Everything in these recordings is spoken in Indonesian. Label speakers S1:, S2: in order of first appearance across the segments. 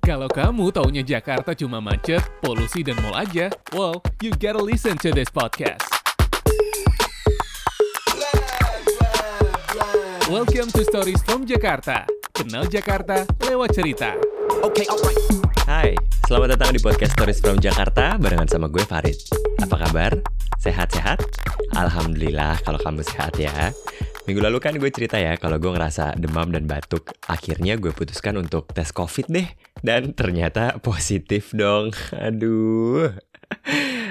S1: Kalau kamu taunya Jakarta cuma macet, polusi, dan mall aja, well, you gotta listen to this podcast. Welcome to Stories from Jakarta. Kenal Jakarta lewat cerita.
S2: Oke, alright. Hai, selamat datang di podcast Stories from Jakarta barengan sama gue Farid. Apa kabar? Sehat-sehat? Alhamdulillah kalau kamu sehat ya. Minggu lalu kan gue cerita ya kalau gue ngerasa demam dan batuk. Akhirnya gue putuskan untuk tes COVID deh dan ternyata positif dong. Aduh.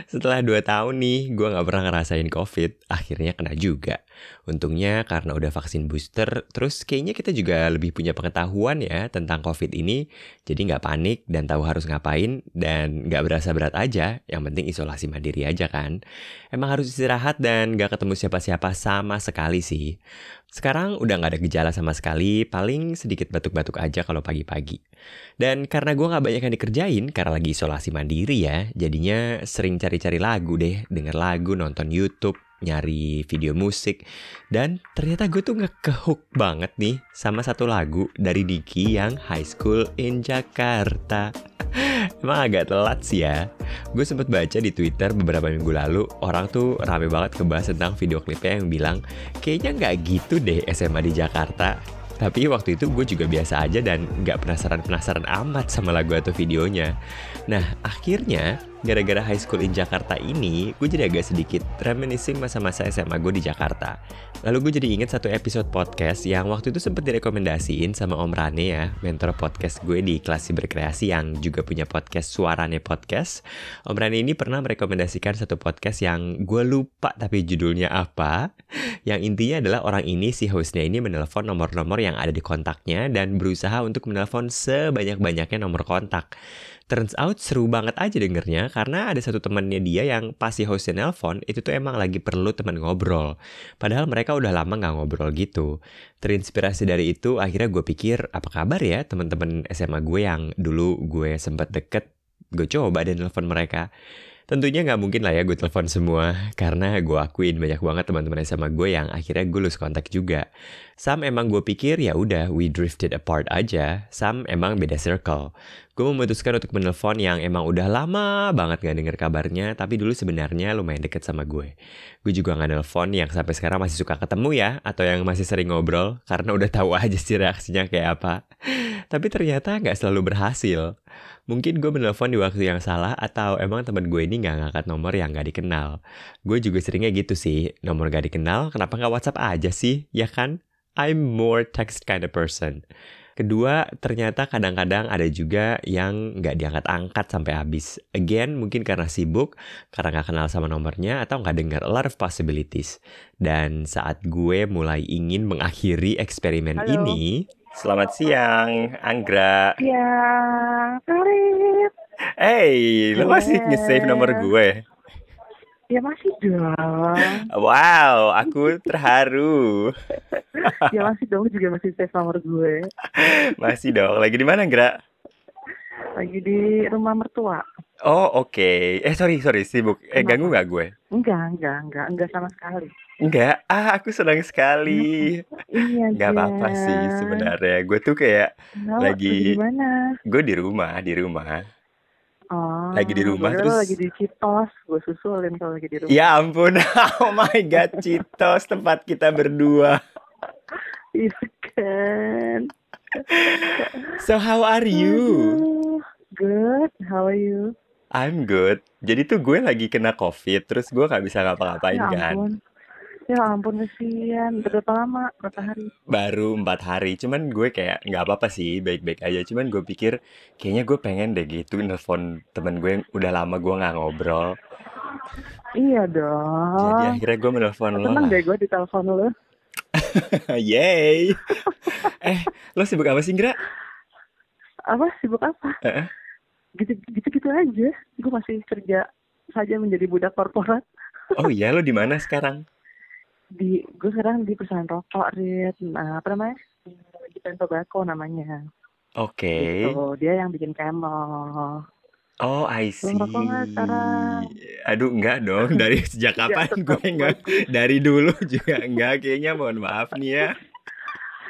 S2: Setelah 2 tahun nih, gue nggak pernah ngerasain COVID, akhirnya kena juga. Untungnya karena udah vaksin booster, terus kayaknya kita juga lebih punya pengetahuan ya tentang COVID ini. Jadi nggak panik dan tahu harus ngapain dan nggak berasa berat aja. Yang penting isolasi mandiri aja kan. Emang harus istirahat dan nggak ketemu siapa-siapa sama sekali sih. Sekarang udah nggak ada gejala sama sekali, paling sedikit batuk-batuk aja kalau pagi-pagi. Dan karena gue nggak banyak yang dikerjain, karena lagi isolasi mandiri ya, jadinya sering cari-cari lagu deh, denger lagu, nonton YouTube, nyari video musik dan ternyata gue tuh ngekehook banget nih sama satu lagu dari Diki yang High School in Jakarta. Emang agak telat sih ya. Gue sempet baca di Twitter beberapa minggu lalu orang tuh rame banget kebahas tentang video klipnya yang bilang kayaknya nggak gitu deh SMA di Jakarta. Tapi waktu itu gue juga biasa aja dan nggak penasaran-penasaran amat sama lagu atau videonya. Nah, akhirnya gara-gara high school in Jakarta ini, gue jadi agak sedikit reminiscing masa-masa SMA gue di Jakarta. Lalu gue jadi inget satu episode podcast yang waktu itu sempet direkomendasiin sama Om Rane ya, mentor podcast gue di kelas berkreasi yang juga punya podcast Suarane Podcast. Om Rane ini pernah merekomendasikan satu podcast yang gue lupa tapi judulnya apa. Yang intinya adalah orang ini, si hostnya ini menelpon nomor-nomor yang yang ada di kontaknya dan berusaha untuk menelpon sebanyak-banyaknya nomor kontak. Turns out seru banget aja dengernya karena ada satu temannya dia yang pas si hostnya nelpon itu tuh emang lagi perlu teman ngobrol. Padahal mereka udah lama nggak ngobrol gitu. Terinspirasi dari itu akhirnya gue pikir apa kabar ya teman-teman SMA gue yang dulu gue sempet deket gue coba dan nelpon mereka. Tentunya nggak mungkin lah ya gue telepon semua, karena gue akuin banyak banget teman-teman SMA gue yang akhirnya gue lose kontak juga. Sam emang gue pikir ya udah we drifted apart aja, Sam emang beda circle. Gue memutuskan untuk menelpon yang emang udah lama banget gak denger kabarnya, tapi dulu sebenarnya lumayan deket sama gue. Gue juga gak nelpon yang sampai sekarang masih suka ketemu ya, atau yang masih sering ngobrol, karena udah tahu aja sih reaksinya kayak apa. Tapi ternyata nggak selalu berhasil. Mungkin gue menelpon di waktu yang salah atau emang temen gue ini nggak ngangkat nomor yang nggak dikenal. Gue juga seringnya gitu sih, nomor nggak dikenal kenapa nggak WhatsApp aja sih, ya kan? I'm more text kind of person. Kedua, ternyata kadang-kadang ada juga yang nggak diangkat-angkat sampai habis. Again, mungkin karena sibuk, karena nggak kenal sama nomornya, atau nggak dengar a lot of possibilities. Dan saat gue mulai ingin mengakhiri eksperimen
S3: Halo.
S2: ini, Selamat siang, Anggra.
S3: Ya, Farid.
S2: Hey,
S3: Iya.
S2: lu masih nge-save nomor gue.
S3: Ya masih dong.
S2: Wow, aku terharu.
S3: Ya masih dong juga masih save nomor gue.
S2: Masih dong. Lagi di mana, Anggra?
S3: Lagi di rumah mertua.
S2: Oh, oke. Eh, sorry, sorry, sibuk. Eh,
S3: Kenapa?
S2: ganggu nggak gue?
S3: Enggak, enggak, enggak, enggak sama sekali.
S2: Enggak. Ah, aku senang sekali.
S3: Iya,
S2: Enggak apa-apa sih sebenarnya. Gue tuh kayak lagi-
S3: di mana?
S2: gue di rumah, di rumah.
S3: Oh,
S2: Lagi di rumah,
S3: gue kira
S2: terus-
S3: lagi di Citos, gue susulin kalau lagi di rumah.
S2: Ya ampun. Oh my god, Citos tempat kita berdua.
S3: Iya kan.
S2: So how are you?
S3: Aduh, Good, how are you?
S2: I'm good. Jadi tuh gue lagi kena covid, terus gue nggak bisa ngapa-ngapain
S3: ya
S2: kan.
S3: ampun. Ya ampun, kesian. Berapa lama? Berapa hari?
S2: baru empat hari cuman gue kayak nggak apa apa sih baik baik aja cuman gue pikir kayaknya gue pengen deh gitu nelfon temen gue yang udah lama gue nggak ngobrol
S3: Iya
S2: jadi
S3: dong.
S2: akhirnya gue menelpon lo
S3: Seneng
S2: lah
S3: Oh. deh gue ditelepon lo.
S2: yay eh lo sibuk apa sih Gra
S3: Apa sibuk apa?
S2: Heeh.
S3: Gitu gitu gitu aja. Gue masih kerja saja menjadi budak korporat
S2: oh iya lo di mana sekarang
S3: di gue sekarang di perusahaan rokok Rit. Nah, apa namanya? Japan Tobacco namanya.
S2: oke
S3: Gitu. Dia yang bikin camel.
S2: oh I see
S3: Lo ngerokok nggak sekarang?
S2: aduh enggak dong dari sejak
S3: Ya,
S2: kapan
S3: tetap
S2: gue enggak dari dulu juga enggak kayaknya mohon maaf nih ya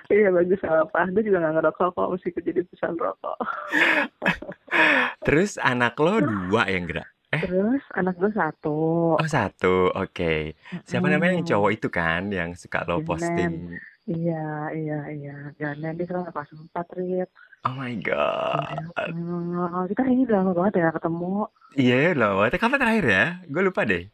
S3: Iya bagus gak apa. Gue juga gak ngerokok kok mesti kerja di perusahaan rokok.
S2: Terus anak lo dua yang gerak?
S3: Terus anak gue satu.
S2: Oh satu, oke. Oh, Siapa namanya yang
S3: Hmm.
S2: cowok itu kan yang suka lo
S3: Ganen.
S2: posting?
S3: Iya, iya, iya. Jangan dia sekarang kelas empat, Rit.
S2: Oh my god.
S3: Hmm, kita kayaknya udah lama banget ya nggak ketemu.
S2: Iya loh, kapan terakhir ya? Gue lupa deh.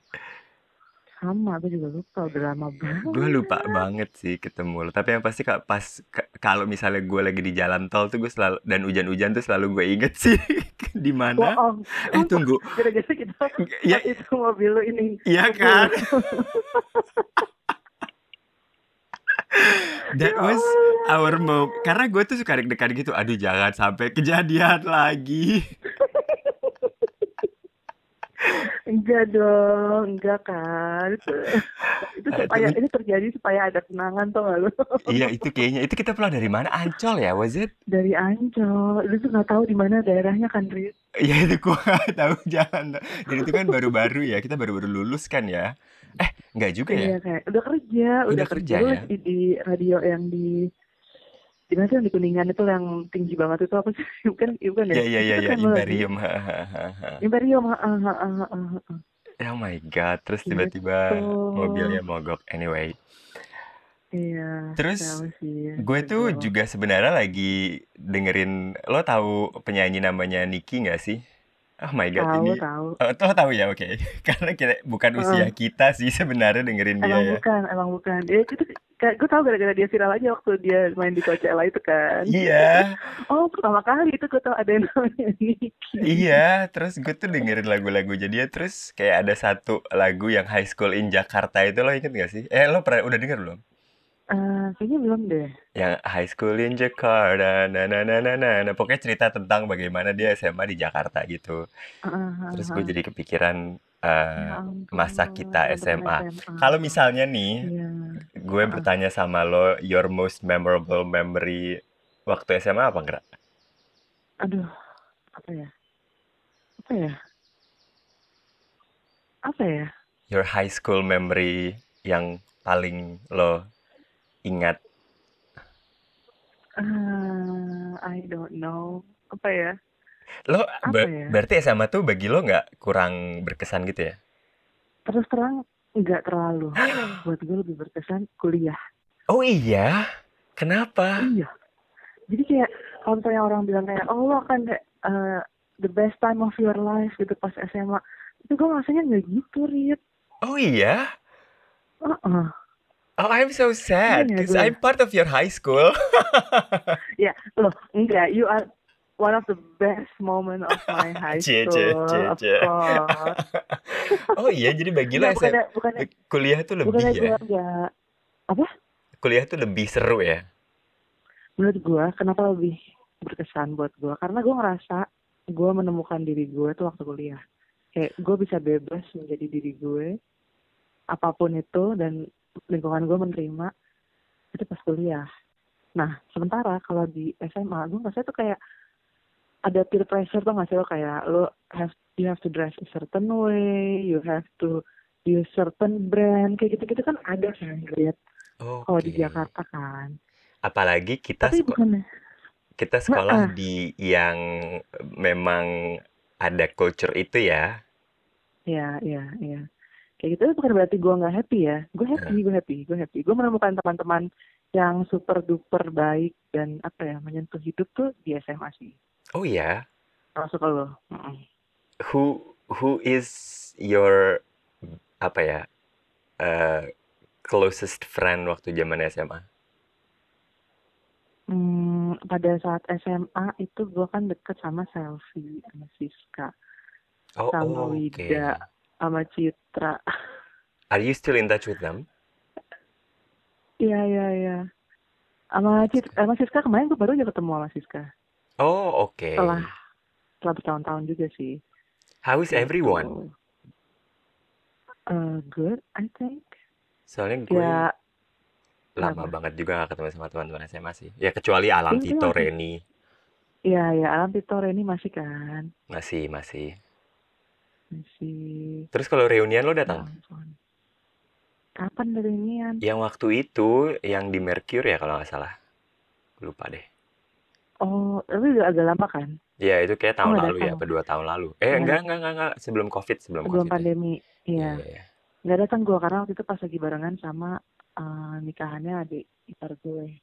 S3: Sama, gue juga lupa. Udah lama banget.
S2: Gue lupa banget sih ketemu lo. Tapi yang pasti ka- pas ka- kalau misalnya gue lagi di jalan tol tuh gue selalu dan hujan-hujan tuh selalu gue inget sih di mana.
S3: Bohong.
S2: Eh tunggu,
S3: Gara-gara kita
S2: ya
S3: pas itu mobil lu ini.
S2: iya kan? That was our mom. Karena gue tuh suka deg-degan gitu. Aduh jangan sampai kejadian lagi.
S3: Enggak dong, enggak kan. Itu, itu
S2: Eh,
S3: supaya
S2: tapi-
S3: ini terjadi supaya ada kenangan tuh gak lu.
S2: Iya itu kayaknya. Itu kita pulang dari mana? Ancol ya, was it?
S3: Dari Ancol, lu tuh nggak tahu di mana daerahnya kan, Rit.
S2: Iya itu gue gak tahu jalan. Dan itu kan baru-baru ya. Kita baru-baru lulus kan ya. Eh nggak juga ya?
S3: Iya kayak udah kerja,
S2: Udah
S3: udah,
S2: kerja
S3: Lu
S2: ya?
S3: Di, di radio yang di di mana sih yang di kuningan itu yang tinggi banget itu apa sih? Bukan, bukan ya?
S2: Iya iya iya
S3: Itu
S2: iya
S3: kan lu lagi-
S2: Imperium. Hahaha.
S3: Imperium, ah, ah, ah, ah, ah, ah.
S2: oh my god. Terus
S3: Gitu.
S2: tiba-tiba mobilnya mogok. Anyway,
S3: Iya.
S2: Terus,
S3: tahu sih.
S2: gue tuh
S3: Tahu.
S2: juga sebenarnya lagi dengerin. Lo tahu penyanyi namanya Nicky nggak sih? Oh my god
S3: tahu
S2: ini.
S3: tahu.
S2: Oh, lo tahu ya oke. Karena kita bukan usia kita sih sebenarnya dengerin dia
S3: Emang
S2: ya.
S3: bukan, emang bukan. Ya itu kayak gue tahu gara-gara dia viral aja waktu dia main di Coachella itu kan.
S2: Iya,
S3: Oh pertama kali itu gue tahu ada yang namanya Niki.
S2: iya. Terus gue tuh dengerin lagu-lagunya dia. Terus kayak ada satu lagu yang High School in Jakarta itu lo inget gak sih? Eh lo pernah udah denger belum?
S3: Eh, kayaknya belum deh.
S2: yang high school in Jakarta na na na na na, na. pokoknya cerita tentang bagaimana dia SMA di Jakarta gitu terus gue jadi kepikiran eh,
S3: Ya
S2: masa kita SMA. kalau misalnya nih
S3: Iya.
S2: gue bertanya sama lo your most memorable memory waktu SMA apa enggak
S3: Aduh, apa ya? Apa ya? Apa ya?
S2: your high school memory yang paling lo ingat
S3: Eh, I don't know. Apa ya?
S2: lo
S3: Apa
S2: ber-
S3: ya?
S2: berarti SMA tuh bagi lo nggak kurang berkesan gitu ya
S3: Terus terang nggak terlalu. Buat gue lebih berkesan kuliah.
S2: oh iya kenapa
S3: Iya. Jadi kayak kalau misalnya orang bilang kayak, oh lo akan eh, the best time of your life gitu pas SMA. Itu gue rasanya nggak gitu, Rit.
S2: oh iya
S3: Heeh.
S2: Oh, I'm so sad
S3: Iya,
S2: because
S3: gue.
S2: I'm part of your high school.
S3: Ya, loh, enggak. You are one of the best moment of my high
S2: Cie,
S3: school.
S2: cie, cie,
S3: of
S2: cie.
S3: course.
S2: Oh iya, jadi bagi lo
S3: Enggak, bukannya, bukannya,
S2: SM kuliah tuh lebih
S3: bukannya
S2: ya.
S3: gue enggak. Apa?
S2: Kuliah tuh lebih seru ya.
S3: Menurut gue, kenapa lebih berkesan buat gue? Karena gue ngerasa gue menemukan diri gue tuh waktu kuliah. Kayak gue bisa bebas menjadi diri gue, apapun itu, dan lingkungan gue menerima, itu pas kuliah. Nah, sementara kalau di SMA, gue ngerasa tuh kayak ada peer pressure tuh nggak sih lo kayak lo have you have to dress a certain way, you have to use certain brand, kayak gitu-gitu kan ada kan, Grit, kalau Oh, di
S2: Oke.
S3: Jakarta kan.
S2: Apalagi kita
S3: Tapi Nah, ah.
S2: seko-
S3: bukan
S2: kita sekolah di yang memang ada culture itu ya.
S3: Iya, iya, iya. Kayak gitu tapi bukan berarti gue nggak happy ya. Gue
S2: Iya.
S3: happy, gue happy, gue happy. Gue menemukan teman-teman yang super duper baik dan apa ya menyentuh hidup tuh di SMA sih.
S2: Oh iya.
S3: Masuk ke lo. Mm-mm.
S2: Who who is your apa ya? eh, closest friend waktu zaman SMA.
S3: Hmm, pada saat SMA itu gue kan deket sama Selfie, sama Siska,
S2: Oh,
S3: Sama
S2: oke.
S3: Wida. sama Citra.
S2: Are you still in touch with them?
S3: Iya, iya, iya. Sama Citra, sama Siska kemarin gue baru aja ketemu sama Siska.
S2: Oh, oke.
S3: Setelah setelah bertahun-tahun juga sih.
S2: How is everyone?
S3: Uh, good, I think.
S2: Soalnya gue
S3: Ya,
S2: lama
S3: kenapa?
S2: banget juga gak ketemu sama teman-teman SMA sih. Ya kecuali Alam
S3: Iya,
S2: Tito,
S3: iya.
S2: Reni.
S3: ya, ya. Alam Tito ini masih kan,
S2: Masih, masih.
S3: masih.
S2: Terus kalau reunian lo datang?
S3: Nelfon. Kapan reunian?
S2: Yang waktu itu, yang di Mercure ya kalau nggak salah. Lupa deh.
S3: Oh, tapi udah agak lama kan?
S2: Ya itu kayak tahun
S3: Oh, ada
S2: lalu ya,
S3: tahu.
S2: apa dua tahun lalu. Eh
S3: Iya.
S2: enggak, enggak, enggak, enggak. Sebelum COVID, sebelum
S3: Sebelum
S2: COVID. ya.
S3: pandemi.
S2: Iya,
S3: Iya.
S2: iya, iya.
S3: Nggak datang gue karena waktu itu pas lagi barengan sama eh, nikahannya adik ipar gue.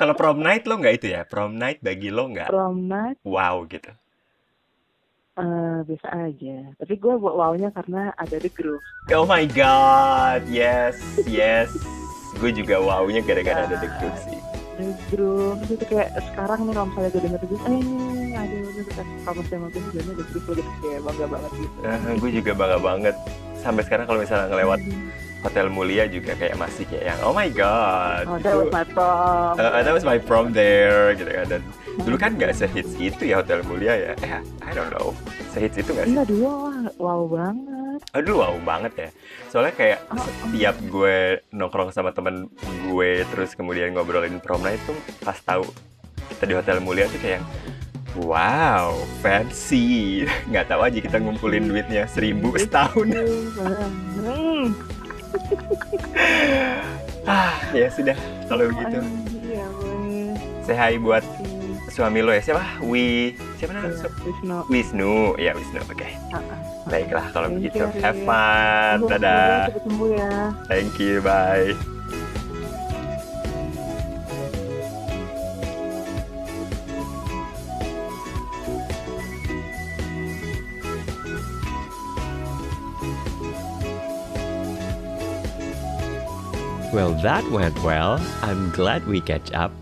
S2: Kalau prom night lo nggak itu ya? Prom night bagi lo nggak?
S3: Prom night
S2: Wow gitu.
S3: eh, biasa aja. Tapi gue buat wow-nya karena ada The Groove.
S2: Oh my god, yes, yes. Gue juga wow-nya gara-gara ada The Groove sih.
S3: The Groove. Terus itu kayak sekarang nih kalau misalnya gue denger The Groove, eh ini ada The Groove. Kalau misalnya gue sebenarnya The Groove lagi kayak bangga banget gitu.
S2: Eh, gue juga bangga banget. Sampai sekarang kalau misalnya ngelewat
S3: Hmm,
S2: Hotel Mulia juga kayak masih kayak yang oh my god.
S3: Oh, that
S2: itu-
S3: was my prom.
S2: Uh, that was my prom there gitu kan dan dulu kan nggak sehits itu ya Hotel Mulia ya eh I don't know sehits itu nggak sih
S3: Iya dulu wah, wow banget.
S2: aduh wow banget ya soalnya kayak
S3: Oh,
S2: setiap gue nongkrong sama temen gue terus kemudian ngobrolin prom night tuh pas tahu kita di Hotel Mulia tuh kayak wow fancy nggak tahu aja kita ngumpulin duitnya seribu setahun
S3: Hmm,
S2: Gitu. ah ya sudah kalau begitu
S3: Iya, wes.
S2: say hi buat suami lo ya siapa Wi siapa
S3: Iya,
S2: namanya Su-
S3: Wisnu.
S2: Wisnu ya Wisnu oke
S3: Ah, ah.
S2: Baiklah kalau
S3: Thank
S2: begitu.
S3: you, Rin.
S2: Have fun.
S3: Semoga
S2: Ah, Dadah.
S3: Cepet sembuh ya.
S2: Thank you. Bye. Well, that went well. I'm glad we catch up.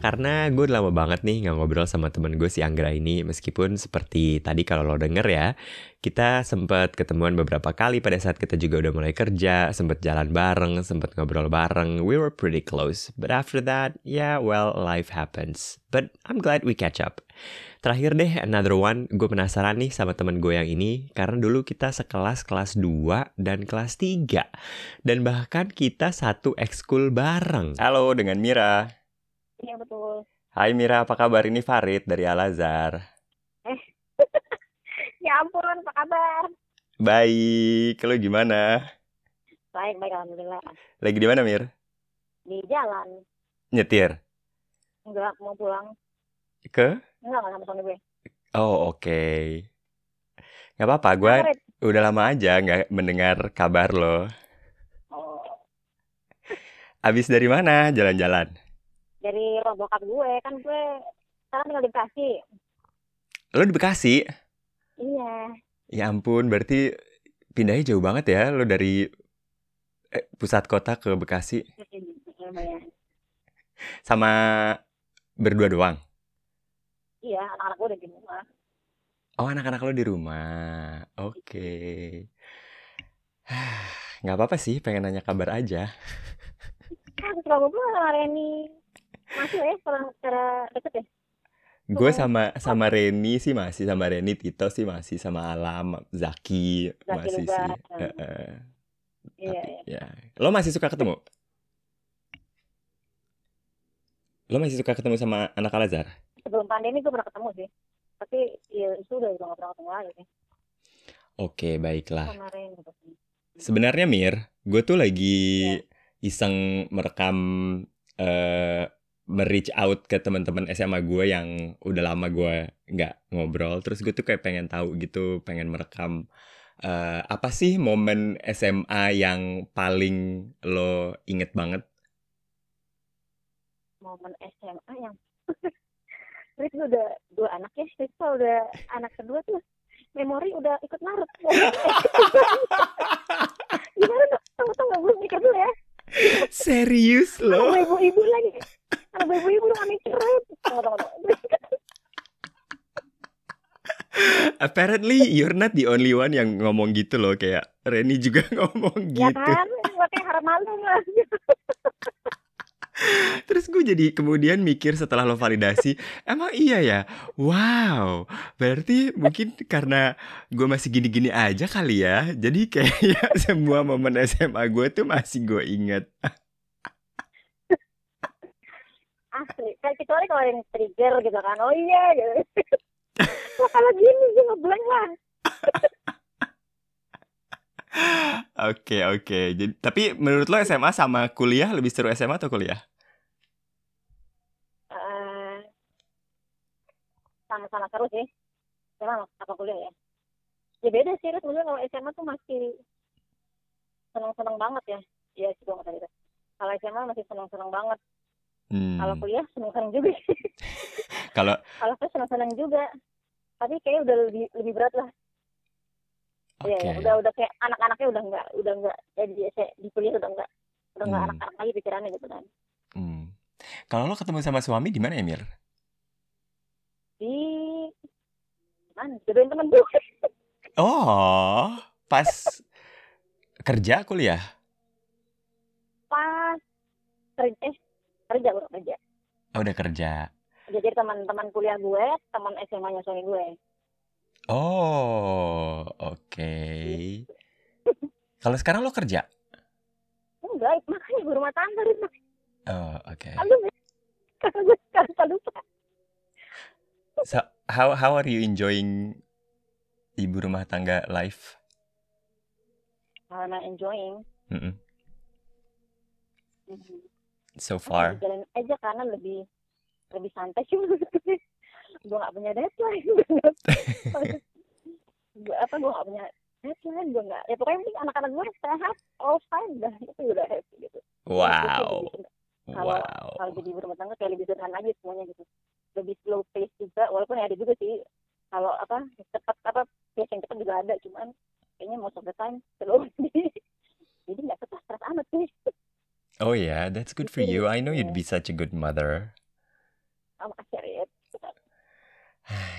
S2: Karena gue udah lama banget nih nggak ngobrol sama temen gue si Anggra ini. Meskipun seperti tadi kalau lo denger ya, kita sempat ketemuan beberapa kali pada saat kita juga udah mulai kerja, sempat jalan bareng, sempat ngobrol bareng. We were pretty close. But after that, yeah, well, life happens. But I'm glad we catch up. Terakhir deh, another one. Gue penasaran nih sama temen gue yang ini. Karena dulu kita sekelas kelas 2 dan kelas 3. Dan bahkan kita satu ekskul bareng. Halo, dengan Mira.
S4: Iya betul.
S2: Hai Mira, apa kabar? Ini Farid dari Al-Azhar.
S4: Ya ampun, apa kabar?
S2: Baik, lo gimana?
S4: Baik, baik alhamdulillah.
S2: Lagi di mana, Mir?
S4: Di jalan,
S2: Nyetir?
S4: enggak mau pulang.
S2: Ke?
S4: Enggak enggak sama suami gue.
S2: Oh oke. Gak apa-apa, gue
S4: Farid.
S2: udah lama aja nggak mendengar kabar lo.
S4: Oh,
S2: Abis dari mana jalan-jalan?
S4: dari rumah bokap gue kan gue sekarang tinggal di Bekasi.
S2: Lo di Bekasi?
S4: Iya.
S2: Ya ampun, berarti pindahnya jauh banget ya lo dari eh, pusat kota ke Bekasi
S4: lumayan.
S2: sama berdua doang.
S4: Iya, anak-anak gue udah di rumah.
S2: Oh anak-anak lo di rumah. Oke. Nggak apa-apa sih, pengen nanya kabar aja.
S4: Kan suka ngobrol sama Reni. Masih ya, sekarang secara deket ya.
S2: Gue
S4: Oh.
S2: sama sama Reni sih masih sama Reni, Tito sih masih sama Alam, Zaki masih sih.
S4: juga. Hmm.
S2: Heeh.
S4: Iya,
S2: Tapi,
S4: iya.
S2: ya. Lo masih suka ketemu? Lo masih suka ketemu sama anak Al-Azhar?
S4: Sebelum pandemi gue pernah ketemu sih. Tapi ya itu udah udah nggak pernah ketemu lagi sih
S2: Oke, baiklah.
S4: sama Reni.
S2: Sebenarnya Mir, gue tuh lagi iseng merekam eh reach out ke teman-teman SMA gue yang udah lama gue nggak ngobrol. Terus gue tuh kayak pengen tahu gitu, pengen merekam eh, apa sih momen SMA yang paling lo inget banget?
S4: momen SMA yang Rizky udah dua anak ya Rizky udah anak kedua tuh memori udah ikut larut gimana tuh tunggu tunggu gue mikir dulu ya
S2: Serius lo?
S4: sama ibu-ibu lagi sama ibu-ibu udah nggak mikir Rit. tunggu tunggu tunggu
S2: Apparently you're not the only one yang ngomong gitu loh kayak Reni juga ngomong
S4: ya
S2: gitu.
S4: kan gue kayak harap malu lah
S2: Terus gue jadi kemudian mikir setelah lo validasi, emang iya ya? Wow, berarti mungkin karena gue masih gini-gini aja kali ya. Jadi kayak semua momen SMA gue tuh masih gue inget.
S4: asli kan kecuali kalau yang trigger gitu kan oh iya gitu Wah, kalau gini gue ngeblank lah
S2: Oke oke. Jadi tapi menurut lo SMA sama kuliah lebih seru SMA atau kuliah?
S4: Eh, sama-sama terus ya sama apa kuliah ya ya beda sih Riz Maksudnya kalau SMA tuh masih seneng-seneng banget ya iya sih gue tadi Riz. kalau SMA masih seneng-seneng banget
S2: Hmm.
S4: kalau kuliah seneng-seneng juga
S2: Kalau
S4: kalau kuliah seneng-seneng juga tapi kayaknya udah lebih lebih berat lah
S2: oke.
S4: Iya, ya, udah udah kayak anak-anaknya udah enggak udah enggak ya di di kuliah udah enggak udah enggak
S2: Hmm.
S4: anak-anak lagi pikirannya gitu kan
S2: Hmm. Kalau lo ketemu sama suami di mana ya, Mir?
S4: di mana jodohin temen gue
S2: Oh, pas kerja kuliah.
S4: pas kerja eh, kerja baru kerja
S2: Oh, udah kerja.
S4: jadi teman-teman kuliah gue teman SMA-nya suami gue
S2: Oh, oke. Kalau sekarang lo kerja?
S4: enggak makanya gue rumah tangga Riz.
S2: Oh, oke.
S4: Aduh, karena gue sekarang lupa lupa.
S2: So, how how are you enjoying ibu rumah tangga life?
S4: Karena enjoying.
S2: Mm-mm.
S4: Mhm.
S2: So
S4: Aku
S2: far.
S4: Jalan aja karena lebih lebih santai sih menurut gue. Gue nggak punya deadline. Gue nggak- gue apa gue nggak punya deadline gue nggak ya pokoknya yang penting anak-anak gue sehat all fine dah itu udah happy gitu
S2: Wow.
S4: kalau
S2: Wow.
S4: jadi ibu rumah tangga kayak lebih sederhana aja semuanya gitu lebih slow pace juga walaupun ada juga sih kalau apa cepat apa pace yang cepat juga ada cuman kayaknya most of the time slow jadi nggak cepat stres amat sih
S2: Oh yeah, that's good for you. I know you'd be such a good mother.
S4: sama kasih ya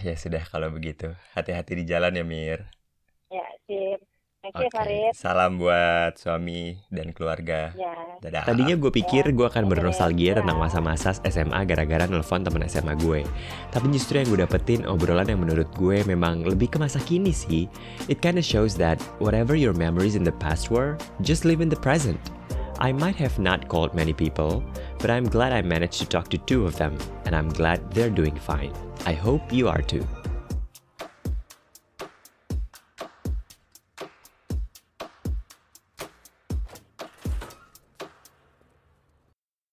S2: Ya sudah kalau begitu. Hati-hati di jalan ya, Mir.
S4: ya sip thank you
S2: Oke.
S4: Farid
S2: Salam buat suami dan keluarga.
S4: ya
S2: Dadah.
S5: Tadinya gue
S4: Ya.
S5: pikir gue akan bernostalgia tentang
S4: Ya.
S5: masa-masa SMA gara-gara nelfon temen SMA gue. Tapi justru yang gue dapetin obrolan yang menurut gue memang lebih ke masa kini sih. It kinda shows that whatever your memories in the past were, just live in the present. I might have not called many people, but I'm glad I managed to talk to two of them, and I'm glad they're doing fine. I hope you are too.